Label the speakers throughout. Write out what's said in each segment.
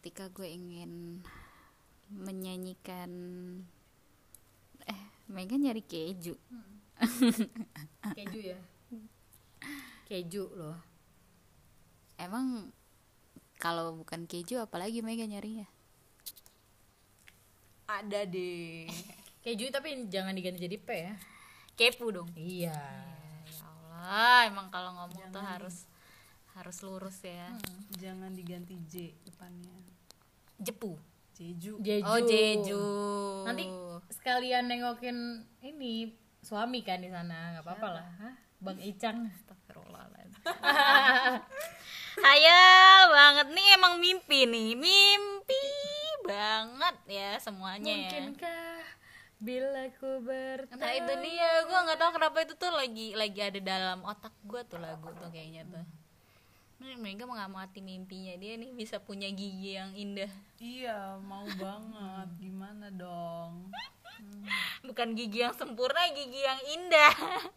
Speaker 1: ketika gue ingin menyanyikan eh Mega nyari keju
Speaker 2: keju ya keju loh
Speaker 1: emang kalau bukan keju apalagi Mega nyarinya
Speaker 3: ada deh
Speaker 2: keju tapi jangan diganti jadi p ya
Speaker 3: kepo dong
Speaker 2: iya
Speaker 1: ya Allah emang kalau ngomong tuh harus harus lurus ya
Speaker 2: Hmm.
Speaker 3: jangan diganti J depannya
Speaker 1: jepu
Speaker 3: Jeju
Speaker 2: jeju
Speaker 1: oh Jeju
Speaker 2: nanti sekalian nengokin ini suami kan di sana nggak apa-apa lah Hah? bang Icang
Speaker 1: Astagfirullahaladzim. Hayal banget nih emang mimpi nih, mimpi banget ya semuanya ya.
Speaker 2: mungkinkah bila ku
Speaker 1: Nah
Speaker 2: bertemu
Speaker 1: itu dia, gue nggak tahu kenapa itu tuh lagi lagi ada dalam otak gue tuh lagu tuh kayaknya tuh. Nah, mereka mengamati mimpinya dia nih bisa punya gigi yang indah,
Speaker 3: iya mau banget gimana dong
Speaker 1: bukan gigi yang sempurna, gigi yang indah.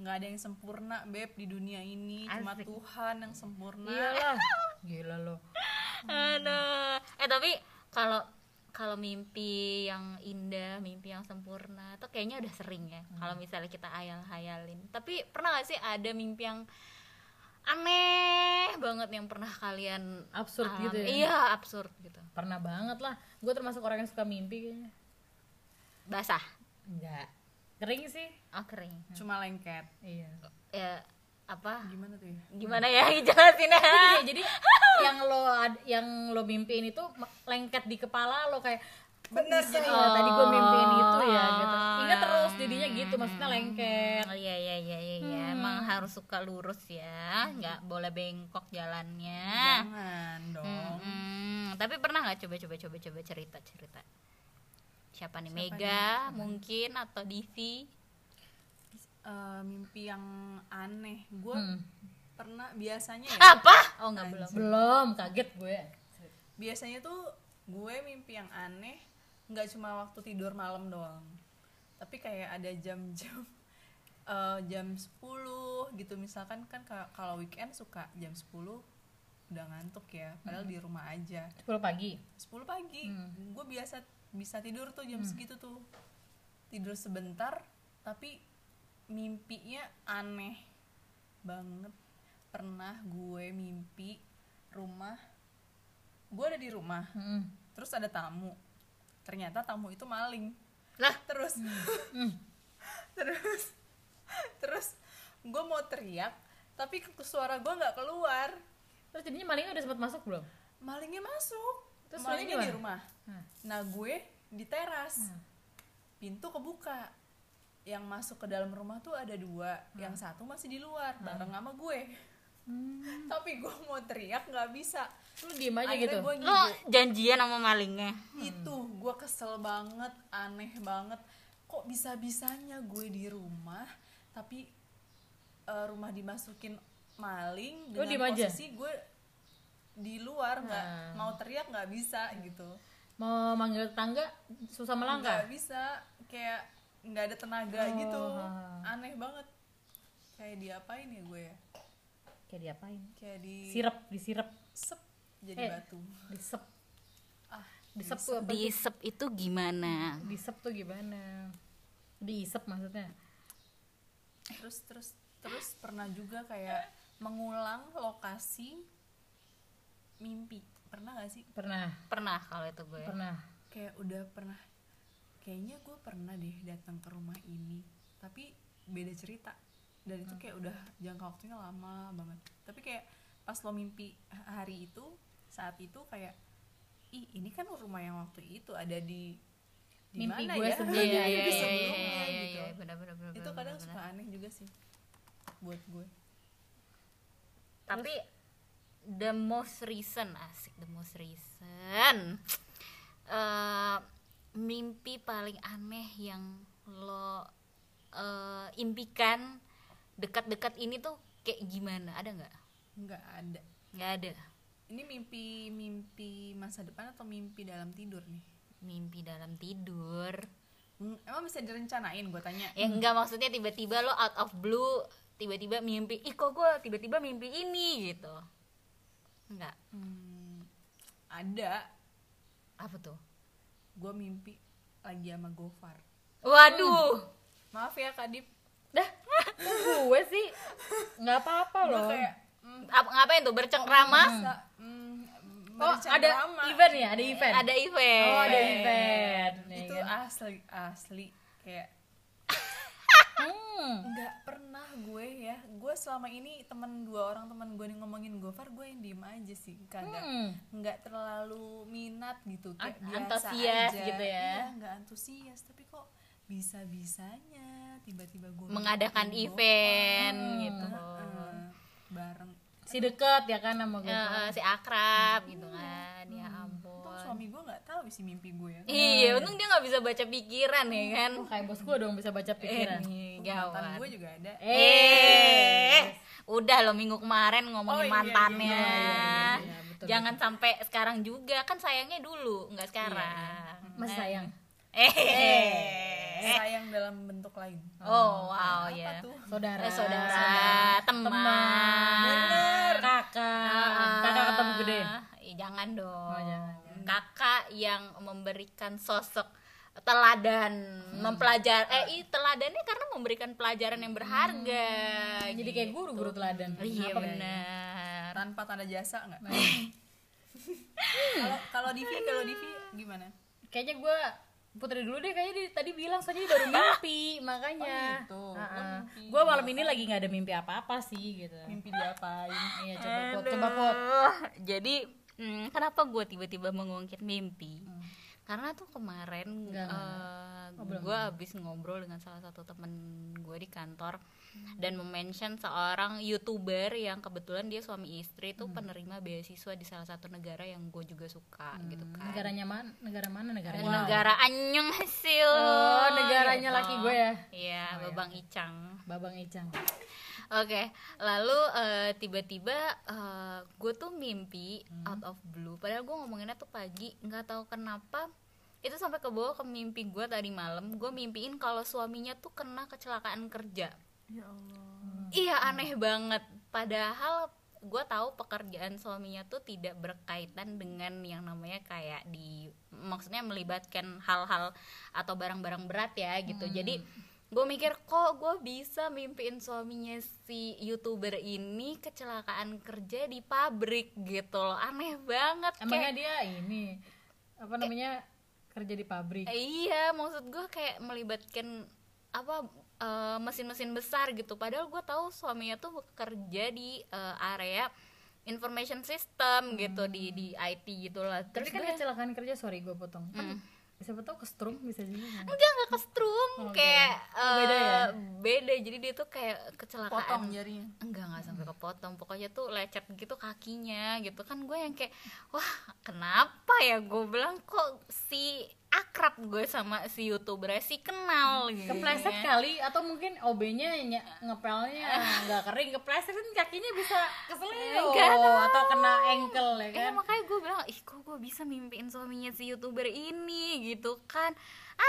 Speaker 3: nggak ada yang sempurna beb di dunia ini cuma Tuhan yang sempurna
Speaker 2: iyalah gila loh
Speaker 1: Aduh, eh tapi kalau kalau mimpi yang indah, mimpi yang sempurna, tuh kayaknya udah sering ya. Kalau misalnya kita hayal-hayalin. Tapi pernah gak sih ada mimpi yang aneh banget yang pernah kalian
Speaker 2: absurd
Speaker 1: alami?
Speaker 2: gitu ya
Speaker 1: Iya, absurd gitu.
Speaker 2: pernah banget lah gue termasuk orang yang suka mimpi kayaknya
Speaker 1: Basah,
Speaker 2: enggak kering sih
Speaker 1: oh kering.
Speaker 3: cuma lengket
Speaker 2: iya
Speaker 1: Ya apa?
Speaker 3: gimana tuh ya
Speaker 1: Gimana ya jelasin
Speaker 2: Iya, jadi
Speaker 1: Ah.
Speaker 2: yang lo ad- yang lo mimpiin itu ma- lengket di kepala lo kayak bener jadi ya, tadi gue mimpiin itu ya gitu ingat terus jadinya gitu maksudnya lengket
Speaker 1: Oh iya iya iya iya, iya. emang harus suka lurus ya, nggak boleh bengkok jalannya.
Speaker 3: jangan dong
Speaker 1: Hmm, tapi pernah nggak coba-coba coba-coba cerita-cerita? Siapa nih Mega mungkin atau Divi?
Speaker 3: Eh, mimpi yang aneh gue pernah biasanya ya
Speaker 1: Apa? Oh nggak belum.
Speaker 2: belum kaget gue
Speaker 3: biasanya tuh gue mimpi yang aneh nggak cuma waktu tidur malam doang tapi kayak ada jam-jam eh, jam 10 gitu misalkan kan ka- kalau weekend suka jam 10 udah ngantuk ya padahal di rumah aja
Speaker 2: 10 pagi
Speaker 3: 10 pagi gue biasa bisa tidur tuh jam segitu tuh tidur sebentar tapi mimpinya aneh banget pernah gue mimpi rumah gue ada di rumah
Speaker 2: Mm.
Speaker 3: terus ada tamu ternyata tamu itu maling
Speaker 1: Lah?
Speaker 3: terus terus terus gue mau teriak tapi ke- suara gue nggak keluar
Speaker 2: terus jadinya malingnya udah sempat masuk belum
Speaker 3: malingnya masuk
Speaker 2: Terus
Speaker 3: malingnya
Speaker 2: malingnya
Speaker 3: di rumah
Speaker 2: Hah.
Speaker 3: Hmm. nah gue di teras pintu kebuka yang masuk ke dalam rumah tuh ada dua yang satu masih di luar bareng sama gue tapi gue mau teriak nggak bisa
Speaker 2: lu diem aja
Speaker 3: akhirnya
Speaker 2: gitu
Speaker 3: gue
Speaker 1: Lo janjian sama malingnya?
Speaker 2: Hmm.
Speaker 3: itu gue kesel banget aneh banget kok bisa bisanya gue di rumah tapi eh, rumah dimasukin maling
Speaker 2: Lu Oh,
Speaker 3: dengan
Speaker 2: diem aja? Hmm.
Speaker 3: posisi gue di luar nggak mau teriak nggak bisa gitu
Speaker 2: mau manggil tetangga susah melangkah
Speaker 3: nggak bisa kayak nggak ada tenaga
Speaker 2: Oh,
Speaker 3: gitu aneh banget kayak diapain ya gue ya
Speaker 2: kayak diapain
Speaker 3: kayak di
Speaker 2: sirep disirep
Speaker 3: sep jadi
Speaker 2: Eh.
Speaker 3: batu
Speaker 2: disep
Speaker 3: ah
Speaker 2: disep tuh apa
Speaker 1: Disep itu gimana?
Speaker 2: disep tuh gimana diisep maksudnya
Speaker 3: terus terus terus pernah juga kayak mengulang lokasi mimpi pernah gak sih
Speaker 2: pernah
Speaker 1: Pernah kalau itu gue.
Speaker 2: pernah
Speaker 3: kayak udah pernah kayaknya gue pernah deh datang ke rumah ini tapi beda cerita dan itu kayak udah jangka waktunya lama banget tapi kayak pas lo mimpi hari itu saat itu kayak ih ini kan rumah yang waktu itu ada di di
Speaker 2: Mimpi
Speaker 3: mana
Speaker 2: gue
Speaker 3: ya
Speaker 2: sebelumnya,
Speaker 3: Di
Speaker 2: iya,
Speaker 3: mimpi
Speaker 2: iya,
Speaker 3: sebelumnya gitu
Speaker 1: benar benar benar.
Speaker 3: itu kadang suka aneh juga sih buat gue
Speaker 1: Tapi the most recent asik the most recent Eh, mimpi paling aneh yang lo eh, impikan dekat-dekat ini tuh kayak gimana ada nggak
Speaker 3: nggak ada
Speaker 1: nggak ada
Speaker 3: Ini mimpi mimpi masa depan atau mimpi dalam tidur nih?
Speaker 1: mimpi dalam tidur
Speaker 3: Hmm, Emang bisa direncanain gue tanya.
Speaker 1: ya enggak maksudnya tiba-tiba lo out of blue tiba-tiba mimpi ih kok gue tiba-tiba mimpi ini gitu enggak
Speaker 3: Hmm, ada
Speaker 1: apa tuh
Speaker 3: gue mimpi lagi sama Gofar
Speaker 1: waduh
Speaker 3: maaf ya kak Dip
Speaker 2: dah gue sih nggak apa-apa
Speaker 3: gue
Speaker 2: loh
Speaker 3: kayak mm,
Speaker 1: Ap- ngapain tuh bercengkrama
Speaker 3: sa- mm,
Speaker 2: oh ada
Speaker 3: bercengkrama.
Speaker 2: event ya ada event
Speaker 1: Iya, ada event
Speaker 2: oh ada event ya
Speaker 3: Iya. itu
Speaker 2: kan?
Speaker 3: asli asli kayak
Speaker 2: Hmm.
Speaker 3: nggak pernah gue ya gue selama ini temen dua orang temen gue nih ngomongin Gofar gue yang diem aja sih kagak
Speaker 2: Hmm.
Speaker 3: nggak terlalu minat gitu kayak
Speaker 2: An-
Speaker 3: biasa
Speaker 2: antusias
Speaker 3: aja.
Speaker 2: gitu ya.
Speaker 3: Iya, nggak antusias tapi kok bisa bisanya tiba-tiba gue
Speaker 1: mengadakan event gitu
Speaker 3: Hmm, bareng
Speaker 2: si deket ya kan sama gue
Speaker 1: Eh, eh, si akrab gitu kan ya
Speaker 3: untung
Speaker 1: ampun
Speaker 3: suami gue nggak tahu isi mimpi gue ya
Speaker 1: iya untung dia nggak bisa baca pikiran ya kan
Speaker 2: Wah, kayak bos gue dong bisa baca pikiran
Speaker 1: Ih,
Speaker 3: mantan
Speaker 1: gawat
Speaker 3: gue juga ada
Speaker 1: Eh, udah lo minggu kemarin
Speaker 3: Oh,
Speaker 1: ngomongin
Speaker 3: iya,
Speaker 1: mantannya.
Speaker 3: iya, iya,
Speaker 2: iya, iya, betul,
Speaker 1: Jangan sampai sekarang juga kan sayangnya dulu, nggak sekarang.
Speaker 2: mas sayang
Speaker 1: Eh.
Speaker 3: sayang dalam bentuk lain
Speaker 1: Oh, wow
Speaker 3: apa
Speaker 1: Eh. ya.
Speaker 3: tuh
Speaker 2: saudara
Speaker 1: Eh, saudara, teman.
Speaker 2: bener kakak
Speaker 1: Ah.
Speaker 2: kakak ketemu gede
Speaker 1: Ih, jangan dong.
Speaker 2: Oh, jangan,
Speaker 1: Kakak yang memberikan sosok teladan,
Speaker 2: Hmm.
Speaker 1: mempelajar eh i- teladannya karena memberikan pelajaran yang berharga.
Speaker 2: jadi kayak guru guru teladan
Speaker 1: Iya
Speaker 2: Kenapa?
Speaker 1: benar.
Speaker 3: tanpa tanda jasa nggak
Speaker 1: Nah.
Speaker 3: kalau kalau Divi kalau Divi gimana
Speaker 2: kayaknya gue putri dulu deh kayaknya dia tadi bilang soalnya dia baru mimpi makanya
Speaker 3: gitu. Lo
Speaker 2: gue malam ini lagi nggak ada mimpi apa apa sih gitu
Speaker 3: mimpi diapain
Speaker 2: iya coba put coba put
Speaker 1: Aduh, jadi mm, kenapa gue tiba-tiba mengungkit mimpi? Karena tuh kemarin
Speaker 2: Hmm. Enggak, enggak,
Speaker 1: gue abis ngobrol dengan salah satu temen gue di kantor
Speaker 2: Hmm.
Speaker 1: dan mention seorang youtuber yang kebetulan dia suami istri tuh
Speaker 2: Hmm.
Speaker 1: penerima beasiswa di salah satu negara yang gue juga suka gitu kan.
Speaker 2: negaranya mana Hmm, negara mana negara
Speaker 1: Dan Negara Anyong hasil. Gitu.
Speaker 2: Oh, negaranya laki gue ya?
Speaker 1: Iya, Babang Icang.
Speaker 2: babang icang
Speaker 1: Oke, lalu eh, tiba-tiba eh, gue tuh mimpi out of blue. Padahal gue ngomonginnya tuh pagi, nggak tahu kenapa itu sampai ke bawah ke mimpi gue tadi malam. Gue mimpiin kalau suaminya tuh kena kecelakaan kerja.
Speaker 3: ya Allah
Speaker 1: Iya aneh banget. Padahal gue tahu pekerjaan suaminya tuh tidak berkaitan dengan yang namanya kayak di maksudnya melibatkan hal-hal atau barang-barang berat ya gitu. Jadi gue mikir kok gue bisa mimpiin suaminya si youtuber ini kecelakaan kerja di pabrik gitu loh aneh banget
Speaker 2: emangnya dia ini apa namanya kerja di pabrik
Speaker 1: Eh, Iya, maksud gue kayak melibatkan apa eh, mesin-mesin besar gitu. Padahal gue tahu suaminya tuh bekerja di eh, area information system gitu di di IT gitulah.
Speaker 2: Hmm. tapi
Speaker 1: Terus
Speaker 2: kan
Speaker 1: gua-
Speaker 2: kecelakaan kerja sorry gue potong kan siapa tahu kestrum bisa juga kan?
Speaker 1: enggak enggak kestrum kayak
Speaker 2: Oh, beda ya?
Speaker 1: eh, beda. Jadi dia tuh kayak kecelakaan.
Speaker 3: potong jarinya
Speaker 1: enggak enggak sampai
Speaker 2: Hmm.
Speaker 1: kepotong pokoknya tuh lecet gitu kakinya gitu kan gue yang kayak wah kenapa ya gue bilang kok si akrab gue sama si youtuber si kenal gitu
Speaker 2: Hmm. kepleset
Speaker 1: ya.
Speaker 2: kali atau mungkin OB-nya ny- ngepelnya nggak kering kepleset kan kakinya bisa keselio
Speaker 1: Nggak tahu.
Speaker 2: atau kena ankle ya
Speaker 1: Eh,
Speaker 2: kan
Speaker 1: makanya gue bilang, ih kok gue bisa mimpiin suaminya si youtuber ini gitu kan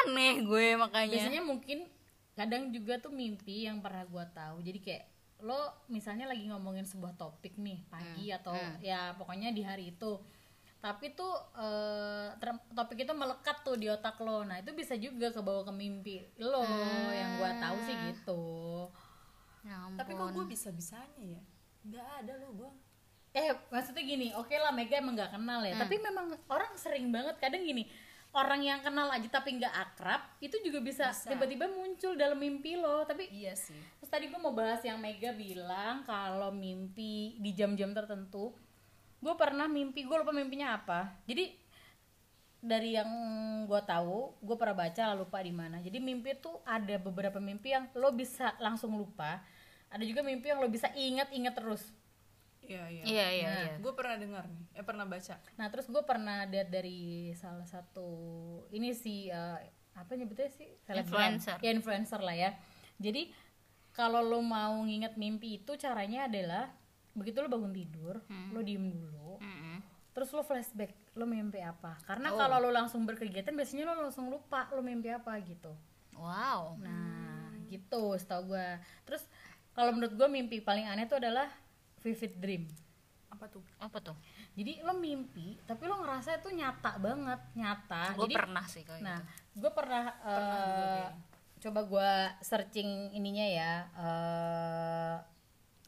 Speaker 1: Aneh gue makanya
Speaker 2: biasanya mungkin kadang juga tuh mimpi yang pernah gua tahu jadi kayak lo misalnya lagi ngomongin sebuah topik nih pagi atau ya pokoknya di hari itu tapi tuh eh, ter- topik itu melekat tuh di otak lo nah itu bisa juga kebawa ke mimpi lo yang gua tahu sih gitu
Speaker 1: Ya ampun.
Speaker 3: tapi kok gue bisa bisanya ya nggak ada loh gue
Speaker 2: eh maksudnya gini oke lah Mega emang nggak kenal
Speaker 3: Hmm.
Speaker 2: ya tapi memang orang sering banget kadang gini orang yang kenal aja tapi nggak akrab itu juga bisa tiba-tiba muncul dalam mimpi lo tapi
Speaker 3: iya sih
Speaker 2: Terus tadi gue mau bahas yang Mega bilang kalau mimpi di jam-jam tertentu, gue pernah mimpi gue lupa mimpinya apa. Jadi dari yang gue tahu, gue pernah baca lupa di mana. Jadi mimpi tuh ada beberapa mimpi yang lo bisa langsung lupa, ada juga mimpi yang lo bisa ingat-ingat terus.
Speaker 3: iya iya
Speaker 1: Iya iya iya
Speaker 3: gue pernah dengar nih eh pernah baca
Speaker 2: Nah terus gue pernah lihat dari salah satu ini si eh, apa nyebutnya sih Selebgram.
Speaker 1: Influencer.
Speaker 2: ya influencer lah ya. Jadi kalau lo mau nginget mimpi itu caranya adalah begitu lo bangun tidur lo diem dulu
Speaker 1: Mm-mm.
Speaker 2: terus lo flashback lo mimpi apa karena kalau lo langsung berkegiatan biasanya lo langsung lupa lo mimpi apa gitu.
Speaker 1: Wow
Speaker 2: Nah gitu setahu gue. Terus kalau menurut gue mimpi paling aneh itu adalah vivid dream.
Speaker 3: apa tuh
Speaker 1: apa tuh
Speaker 2: jadi lo mimpi tapi lo ngerasa itu nyata banget nyata
Speaker 1: gue
Speaker 2: jadi
Speaker 1: pernah sih kayak
Speaker 2: nah
Speaker 1: gitu
Speaker 2: gue pernah, eh,
Speaker 3: gue kayak.
Speaker 2: coba gue searching ininya ya eh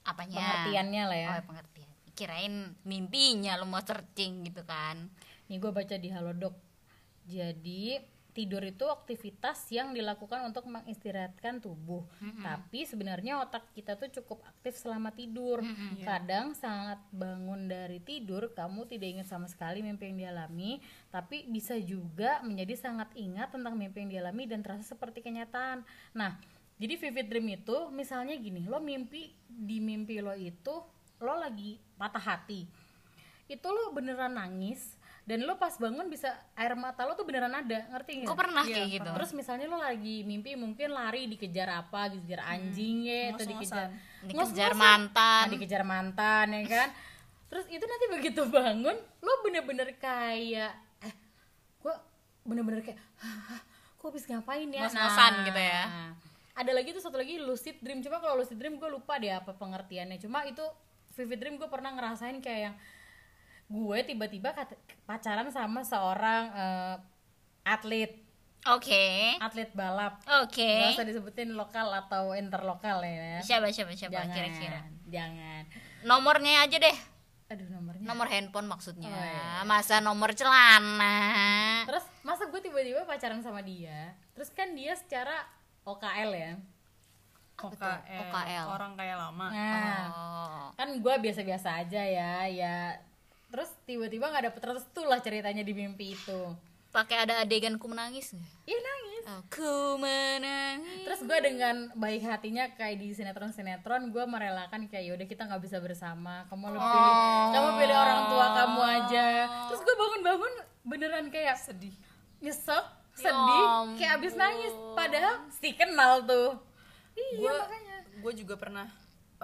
Speaker 1: apanya
Speaker 2: pengertiannya lah ya
Speaker 1: oh pengertian kirain mimpinya lo mau searching gitu kan
Speaker 2: Nih gue baca di Halodoc. Jadi tidur itu aktivitas yang dilakukan untuk mengistirahatkan tubuh. Tapi sebenarnya otak kita tuh cukup aktif selama tidur. Kadang saat bangun dari tidur kamu tidak ingat sama sekali mimpi yang dialami, tapi bisa juga menjadi sangat ingat tentang mimpi yang dialami dan terasa seperti kenyataan. Nah, jadi vivid dream itu misalnya gini, lo mimpi di mimpi lo itu lo lagi patah hati itu lo beneran nangis dan lo pas bangun bisa air mata lo tuh beneran ada ngerti nggak?
Speaker 1: gue pernah
Speaker 3: Iya,
Speaker 1: kayak gitu
Speaker 2: Terus misalnya lo lagi mimpi mungkin lari dikejar apa, dikejar anjing ya, atau dikejar
Speaker 3: Ngos-ngosan.
Speaker 1: dikejar
Speaker 2: ngos-ngosan.
Speaker 1: mantan
Speaker 2: Nah, dikejar mantan ya kan. Terus itu nanti begitu bangun lo bener-bener kayak eh gue bener-bener kayak "Hah, gue habis ngapain ya?
Speaker 1: Ngos-ngosan gitu ya.
Speaker 2: Ada lagi tuh satu lagi lucid dream. Cuma kalau lucid dream gue lupa deh apa pengertiannya. Cuma itu vivid dream gue pernah ngerasain kayak yang gue tiba-tiba kat- pacaran sama seorang eh, atlet
Speaker 1: oke
Speaker 2: atlet balap
Speaker 1: oke
Speaker 2: nggak usah disebutin lokal atau interlokal ya
Speaker 1: Eh? siapa siapa siapa
Speaker 2: jangan
Speaker 1: kira-kira
Speaker 2: jangan
Speaker 1: nomornya aja deh
Speaker 2: aduh nomornya
Speaker 1: nomor handphone maksudnya
Speaker 2: Iya. Oh, iya.
Speaker 1: masa nomor celana
Speaker 2: terus masa gue tiba-tiba pacaran sama dia terus kan dia secara OKL ya
Speaker 3: OKL,
Speaker 1: OKL.
Speaker 3: orang kaya lama
Speaker 2: nah
Speaker 1: oh
Speaker 2: kan gue biasa-biasa aja ya ya terus tiba-tiba nggak dapet restu lah ceritanya di mimpi itu
Speaker 1: pakai ada adegan ku menangis nggak?
Speaker 2: iya nangis
Speaker 1: aku menangis
Speaker 2: terus gue dengan baik hatinya kayak di sinetron sinetron gue merelakan kayak yaudah kita nggak bisa bersama kamu lo pilih kamu pilih orang tua kamu aja terus gue bangun-bangun beneran kayak sedih Ya nyesek sedih kayak abis nangis padahal si kenal tuh
Speaker 1: Iya,
Speaker 3: gue gue juga pernah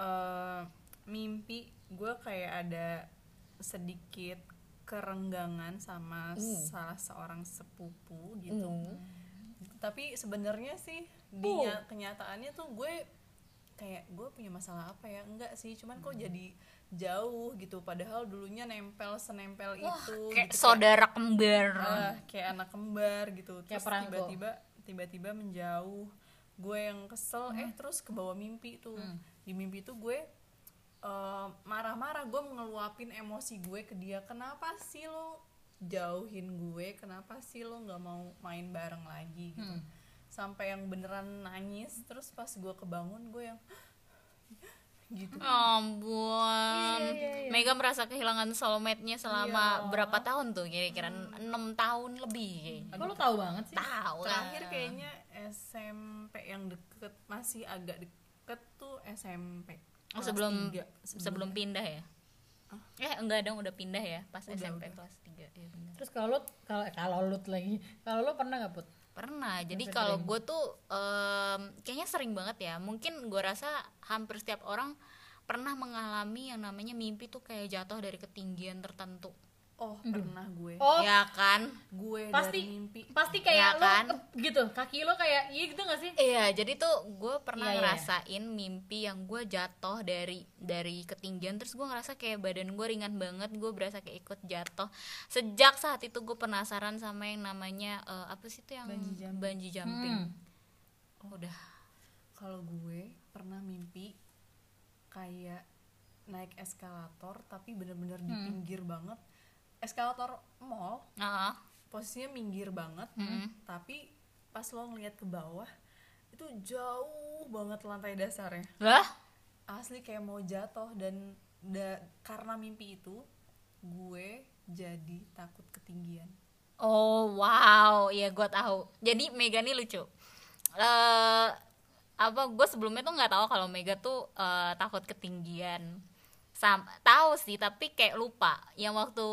Speaker 3: eh, mimpi gue kayak ada sedikit kerenggangan sama
Speaker 1: Mm.
Speaker 3: salah seorang sepupu gitu tapi sebenarnya sih
Speaker 1: Oh.
Speaker 3: di nya- kenyataannya tuh gue kayak gue punya masalah apa ya enggak sih cuman kok
Speaker 1: Mm.
Speaker 3: jadi jauh gitu padahal dulunya nempel senempel itu
Speaker 1: kayak
Speaker 3: gitu.
Speaker 1: saudara kembar
Speaker 3: Ah, kayak anak kembar gitu
Speaker 2: Kayak
Speaker 3: terus
Speaker 2: perangko.
Speaker 3: tiba-tiba tiba-tiba menjauh gue yang kesel eh terus ke bawah mimpi tuh di mimpi tuh gue eh, marah-marah gue ngeluapin emosi gue ke dia kenapa sih lo jauhin gue kenapa sih lo nggak mau main bareng lagi gitu sampai yang beneran nangis terus pas gue kebangun gue yang gitu
Speaker 1: Ya ampun Mega merasa kehilangan soulmate-nya selama berapa tahun tuh kira-kira enam tahun lebih kayaknya
Speaker 2: kok lo tahu banget sih
Speaker 1: tahu lah Oh,
Speaker 3: terakhir kayaknya SMP yang deket masih agak deket tuh SMP
Speaker 1: Oh, sebelum
Speaker 3: Kelas tiga.
Speaker 1: sebelum pindah ya eh enggak dong udah pindah ya pas SMP kelas 3 ya benar
Speaker 2: terus kalau lo kalau kalau lo lagi kalau lo pernah nggak put
Speaker 1: pernah jadi kalau gue tuh em, kayaknya sering banget ya mungkin gue rasa hampir setiap orang pernah mengalami yang namanya mimpi tuh kayak jatuh dari ketinggian tertentu
Speaker 3: oh pernah gue
Speaker 2: oh
Speaker 1: ya kan
Speaker 3: gue
Speaker 2: pasti
Speaker 3: dari mimpi
Speaker 2: pasti kayak
Speaker 1: Iya
Speaker 2: lo
Speaker 1: kan?
Speaker 2: ke- gitu kaki lo kayak iya gitu gak sih
Speaker 1: iya jadi tuh gue pernah
Speaker 2: Iya, iya, iya.
Speaker 1: ngerasain mimpi yang gue jatuh dari dari ketinggian terus gue ngerasa kayak badan gue ringan banget gue berasa kayak ikut jatuh sejak saat itu gue penasaran sama yang namanya eh, apa sih itu yang
Speaker 3: Bungee jumping.
Speaker 1: bungee jumping
Speaker 2: Hmm.
Speaker 1: udah
Speaker 3: kalau gue pernah mimpi kayak naik eskalator tapi bener-bener di pinggir banget eskalator mall
Speaker 1: Heeh.
Speaker 3: posisinya minggir banget tapi pas lo ngeliat ke bawah itu jauh banget lantai dasarnya
Speaker 1: lah
Speaker 3: asli kayak mau jatuh dan da- karena mimpi itu gue jadi takut ketinggian
Speaker 1: Oh wow, ya gue tahu. Jadi Mega nih lucu. eh apa gue sebelumnya tuh nggak tahu kalau Mega tuh eh, takut ketinggian. Sam tahu sih tapi kayak lupa. Yang waktu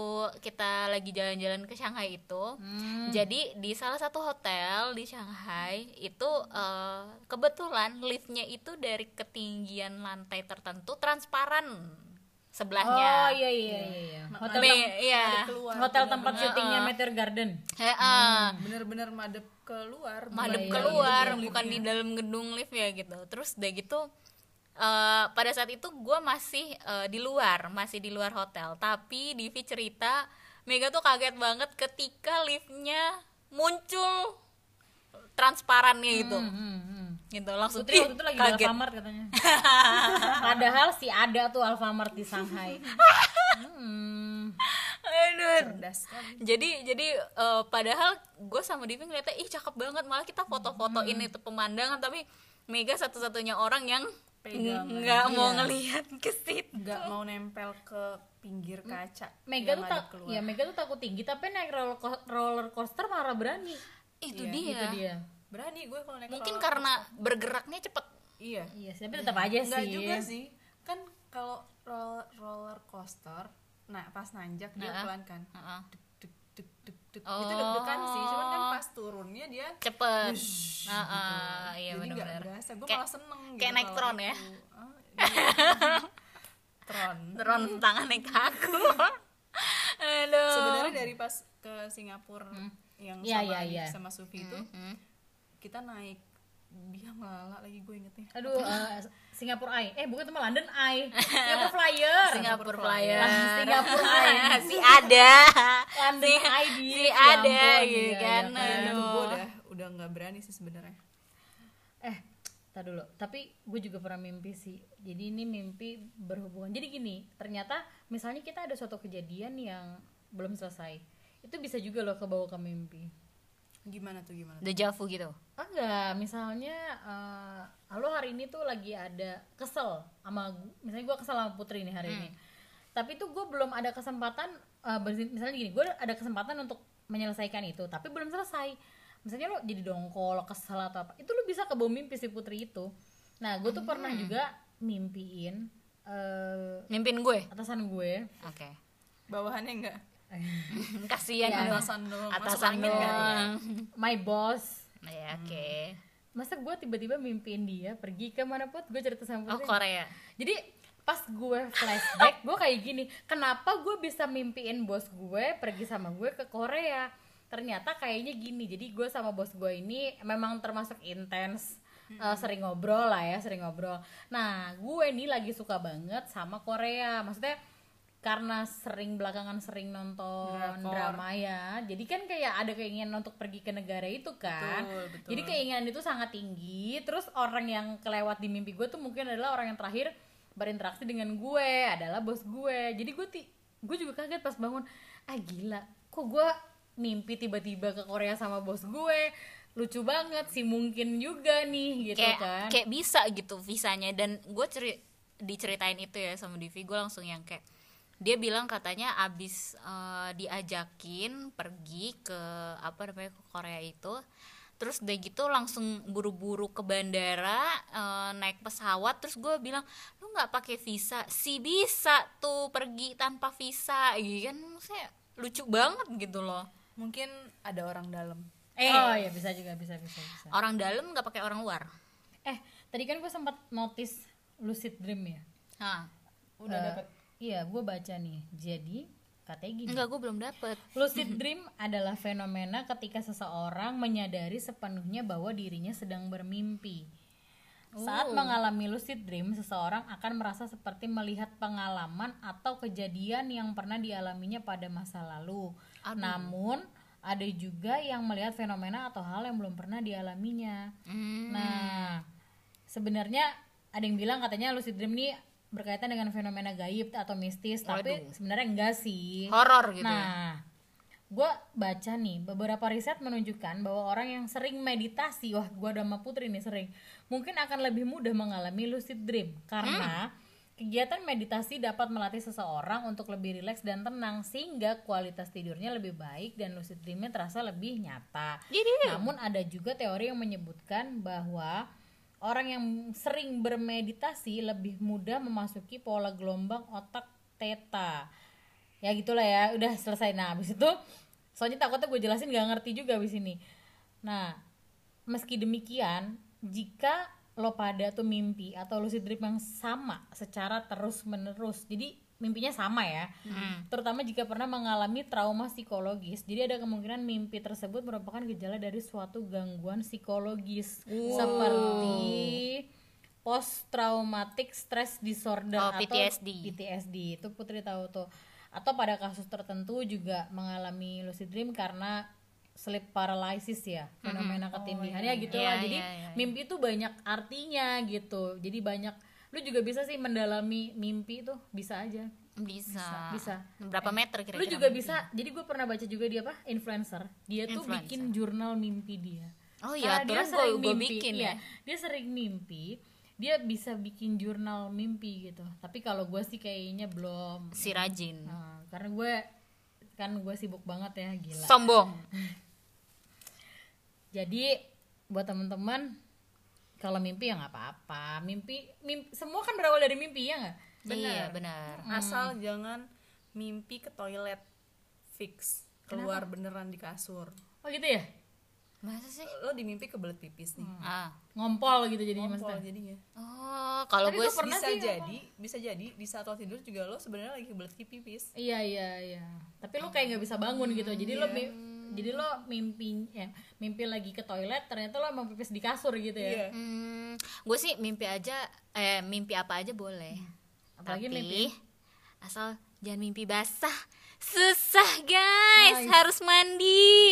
Speaker 1: kita lagi jalan-jalan ke Shanghai itu,
Speaker 2: Hmm.
Speaker 1: jadi di salah satu hotel di Shanghai itu eh, kebetulan liftnya itu dari ketinggian lantai tertentu transparan sebelahnya.
Speaker 2: oh iya iya iya, iya. hotel
Speaker 1: Me-
Speaker 2: tem-
Speaker 1: iya.
Speaker 3: keluar
Speaker 2: hotel tempat syutingnya Meteor Garden
Speaker 1: Heeh.
Speaker 2: Hmm.
Speaker 3: bener-bener madep keluar
Speaker 1: madep
Speaker 2: Bayangin ya.
Speaker 1: ya, keluar bukan di dalam gedung lift ya gitu terus udah gitu eh, pada saat itu gue masih eh, di luar masih di luar hotel tapi Divi cerita Mega tuh kaget banget ketika liftnya muncul transparannya gitu
Speaker 2: Hmm, hmm.
Speaker 1: gitu langsung
Speaker 2: Putri
Speaker 1: "Ih,
Speaker 2: waktu itu lagi di
Speaker 1: kaget
Speaker 2: Alfamart katanya. Padahal si ada tuh Alfamart di Shanghai. Hmm.
Speaker 1: Aduh,
Speaker 3: cerdas kan
Speaker 1: jadi jadi eh, padahal gue sama Divi ngeliatnya ih cakep banget malah kita
Speaker 2: Hmm.
Speaker 1: foto-fotoin itu pemandangan tapi Mega satu-satunya orang yang
Speaker 3: Pegangan.
Speaker 1: n- nggak mau
Speaker 2: Iya.
Speaker 1: ngelihat ke situ
Speaker 3: nggak mau nempel ke pinggir kaca
Speaker 2: Mega
Speaker 3: yang
Speaker 2: tuh
Speaker 3: ada
Speaker 2: tak,
Speaker 3: keluar.
Speaker 2: ya Mega tuh takut tinggi tapi naik roller, co- roller coaster malah berani.
Speaker 1: itu
Speaker 3: Iya, gitu.
Speaker 1: dia.
Speaker 2: Itu dia.
Speaker 3: berani gue kalau naik
Speaker 1: mungkin
Speaker 3: roller
Speaker 1: karena bergeraknya cepet
Speaker 3: coaster. iya
Speaker 2: Iya, sih, tapi tetap aja
Speaker 3: nggak
Speaker 2: sih.
Speaker 3: juga sih kan kalau roller, roller coaster nah pas nanjak dia
Speaker 1: Nah.
Speaker 3: pelan kan
Speaker 1: Heeh. Oh.
Speaker 3: deg deg deg deg deg itu deg-degan sih cuman kan pas turunnya dia
Speaker 1: cepet
Speaker 3: Wush,
Speaker 1: Nah, ah, iya
Speaker 3: jadi nggak
Speaker 1: benar-benar
Speaker 3: berasa gue
Speaker 1: Kayak-
Speaker 3: malah seneng
Speaker 1: kayak naik
Speaker 3: Gitu kalau
Speaker 1: tron ya?
Speaker 3: itu. Ah, iya. tron
Speaker 1: turun tangannya ke aku aduh
Speaker 3: sebenarnya dari pas ke Singapura yang
Speaker 2: Eh, Iya,
Speaker 3: sama
Speaker 2: iya,
Speaker 3: Arif
Speaker 2: iya.
Speaker 3: sama Sufi itu
Speaker 1: Hmm.
Speaker 3: kita naik dia melala lagi gue ingetnya
Speaker 2: Aduh, eh, Singapura Eye. Eh, bukan teman London Eye. Singapura Flyer.
Speaker 1: Singapura Flyer
Speaker 2: Lah, Singapura Eye.
Speaker 1: si ada
Speaker 2: London
Speaker 1: si,
Speaker 2: Eye di
Speaker 1: si ada
Speaker 2: Lampung,
Speaker 1: gitu
Speaker 2: iya,
Speaker 1: kan
Speaker 2: iya, kan.
Speaker 3: Aduh, gue
Speaker 1: aduh
Speaker 3: Nah, udah udah nggak berani sih sebenarnya
Speaker 2: Eh, tar dulu. Tapi gue juga pernah mimpi sih. Jadi ini mimpi berhubungan. Jadi gini, ternyata misalnya kita ada suatu kejadian yang belum selesai. Itu bisa juga loh kebawa ke mimpi.
Speaker 3: gimana tuh gimana tuh?
Speaker 1: deja vu gitu
Speaker 2: enggak misalnya eh lo hari ini tuh lagi ada kesel sama gu- misalnya gue kesel sama putri nih hari ini tapi tuh gue belum ada kesempatan eh, bersi- misalnya gini gue ada kesempatan untuk menyelesaikan itu tapi belum selesai misalnya lo jadi dongkol lo kesel atau apa itu lo bisa ke bawah mimpi si putri itu nah gue tuh pernah juga mimpiin eh
Speaker 1: mimpin gue
Speaker 2: atasan gue
Speaker 1: oke
Speaker 3: bawahannya enggak
Speaker 1: kasihan
Speaker 2: Ya.
Speaker 1: dong.
Speaker 3: Iya. atasan doang masuk
Speaker 1: atasan
Speaker 3: angin nggak? ya?
Speaker 1: doang
Speaker 2: my boss
Speaker 1: ya oke
Speaker 2: masa gue tiba-tiba mimpiin dia pergi ke mana pun gue cerita sama
Speaker 1: oh
Speaker 2: putri
Speaker 1: Korea
Speaker 2: Jadi pas gue flashback gue kayak gini, kenapa gue bisa mimpiin bos gue pergi sama gue ke Korea? Ternyata kayaknya gini. Jadi gue sama bos gue ini memang termasuk intens. eh, sering ngobrol lah ya, sering ngobrol. Nah, gue nih lagi suka banget sama Korea. Maksudnya karena sering belakangan sering nonton
Speaker 3: Drakor.
Speaker 2: drama ya. Jadi kan kayak ada keinginan untuk pergi ke negara itu kan.
Speaker 3: Betul, betul.
Speaker 2: Jadi keinginan itu sangat tinggi. Terus orang yang kelewat di mimpi gue tuh mungkin adalah orang yang terakhir berinteraksi dengan gue adalah bos gue. Jadi gue ti- gue juga kaget pas bangun. Ah gila, kok gue mimpi tiba-tiba ke Korea sama bos gue. Lucu banget sih mungkin juga nih gitu
Speaker 1: kayak
Speaker 2: kan.
Speaker 1: kayak bisa gitu visanya dan gue ceri diceritain itu ya sama Divi gue langsung yang kayak dia bilang katanya abis eh, diajakin pergi ke apa namanya ke Korea itu terus udah gitu langsung buru-buru ke bandara eh, naik pesawat terus gue bilang lu nggak pakai visa si bisa tuh pergi tanpa visa gitu kan saya lucu banget gitu loh
Speaker 3: mungkin ada orang dalam
Speaker 1: eh
Speaker 2: Oh ya bisa juga bisa bisa bisa.
Speaker 1: orang dalam nggak pakai orang luar
Speaker 2: Eh tadi kan gue sempat notice lucid dream ya.
Speaker 1: Hah.
Speaker 3: udah
Speaker 2: Eh,
Speaker 3: dapet
Speaker 2: Iya gue baca nih. Jadi katanya gini.
Speaker 1: nggak gue belum dapet
Speaker 2: Lucid dream adalah fenomena ketika seseorang menyadari sepenuhnya bahwa dirinya sedang bermimpi. Saat mengalami lucid dream, seseorang akan merasa seperti melihat pengalaman atau kejadian yang pernah dialaminya pada masa lalu. Namun, ada juga yang melihat fenomena atau hal yang belum pernah dialaminya.
Speaker 1: Hmm.
Speaker 2: Nah, sebenarnya ada yang bilang katanya lucid dream ini berkaitan dengan fenomena gaib atau mistis, tapi sebenarnya enggak sih.
Speaker 1: horor gitu ya.
Speaker 2: Nah, gue baca nih beberapa riset menunjukkan bahwa orang yang sering meditasi, wah gue udah sama Putri nih sering, mungkin akan lebih mudah mengalami lucid dream
Speaker 1: Hmm.
Speaker 2: karena kegiatan meditasi dapat melatih seseorang untuk lebih rileks dan tenang sehingga kualitas tidurnya lebih baik dan lucid dreamnya terasa lebih nyata.
Speaker 1: iya.
Speaker 2: Namun ada juga teori yang menyebutkan bahwa orang yang sering bermeditasi lebih mudah memasuki pola gelombang otak theta. Ya gitulah ya, udah selesai. Nah, habis itu soalnya takutnya gue jelasin gak ngerti juga habis ini. Nah, meski demikian, jika lo pada tuh mimpi atau lucid dream yang sama secara terus-menerus. Jadi mimpinya sama ya terutama jika pernah mengalami trauma psikologis. Jadi ada kemungkinan mimpi tersebut merupakan gejala dari suatu gangguan psikologis seperti post traumatic stress disorder
Speaker 1: Oh,
Speaker 2: atau
Speaker 1: PTSD.
Speaker 2: PTSD itu Putri tahu tuh atau pada kasus tertentu juga mengalami lucid dream karena sleep paralysis ya fenomena ketindihan ya gitu lah
Speaker 1: Iya,
Speaker 2: jadi
Speaker 1: iya, iya, iya.
Speaker 2: mimpi itu banyak artinya gitu jadi banyak lu juga bisa sih mendalami mimpi tuh bisa aja
Speaker 1: bisa
Speaker 2: Bisa. Iya.
Speaker 1: berapa meter
Speaker 2: lu
Speaker 1: kira-kira
Speaker 2: juga
Speaker 1: mimpi?
Speaker 2: bisa jadi gue pernah baca juga dia apa influencer dia tuh
Speaker 1: Influencer.
Speaker 2: bikin jurnal mimpi dia
Speaker 1: oh
Speaker 2: Karena
Speaker 1: iya aturan gue gue bikin
Speaker 2: iya.
Speaker 1: ya
Speaker 2: Dia sering mimpi, dia bisa bikin jurnal mimpi gitu. Tapi kalau gue sih kayaknya belum.
Speaker 1: si rajin
Speaker 2: Nah, karena gue kan gue sibuk banget ya gila.
Speaker 1: sombong
Speaker 2: Jadi buat teman-teman kalau mimpi ya nggak apa-apa. Mimpi, mimpi semua kan berawal dari mimpi ya nggak?
Speaker 1: iya benar
Speaker 2: Hmm.
Speaker 3: asal jangan mimpi ke toilet fix keluar beneran di kasur
Speaker 2: Oh gitu ya?
Speaker 1: masa sih
Speaker 3: lo dimimpi kebelet pipis nih
Speaker 1: ah
Speaker 2: Ngompol gitu jadinya
Speaker 3: ngompol
Speaker 2: Hmm, maksudnya.
Speaker 3: jadinya
Speaker 1: oh kalau
Speaker 2: Tapi
Speaker 1: gue
Speaker 2: gua pernah
Speaker 3: bisa
Speaker 2: sih
Speaker 3: jadi bisa jadi di saat lo tidur juga lo sebenarnya lagi kebelet pipis
Speaker 2: Iya iya iya. Tapi lo kayak nggak bisa bangun gitu. Jadi lo mi- jadi lo mimpi eh, mimpi lagi ke toilet ternyata lo emang pipis di kasur gitu ya.
Speaker 3: iya
Speaker 1: Hmm, gue sih mimpi aja, eh mimpi apa aja boleh.
Speaker 2: Hmm, Apalagi
Speaker 1: Tapi
Speaker 2: mimpi-
Speaker 1: asal jangan mimpi basah, susah guys, harus mandi.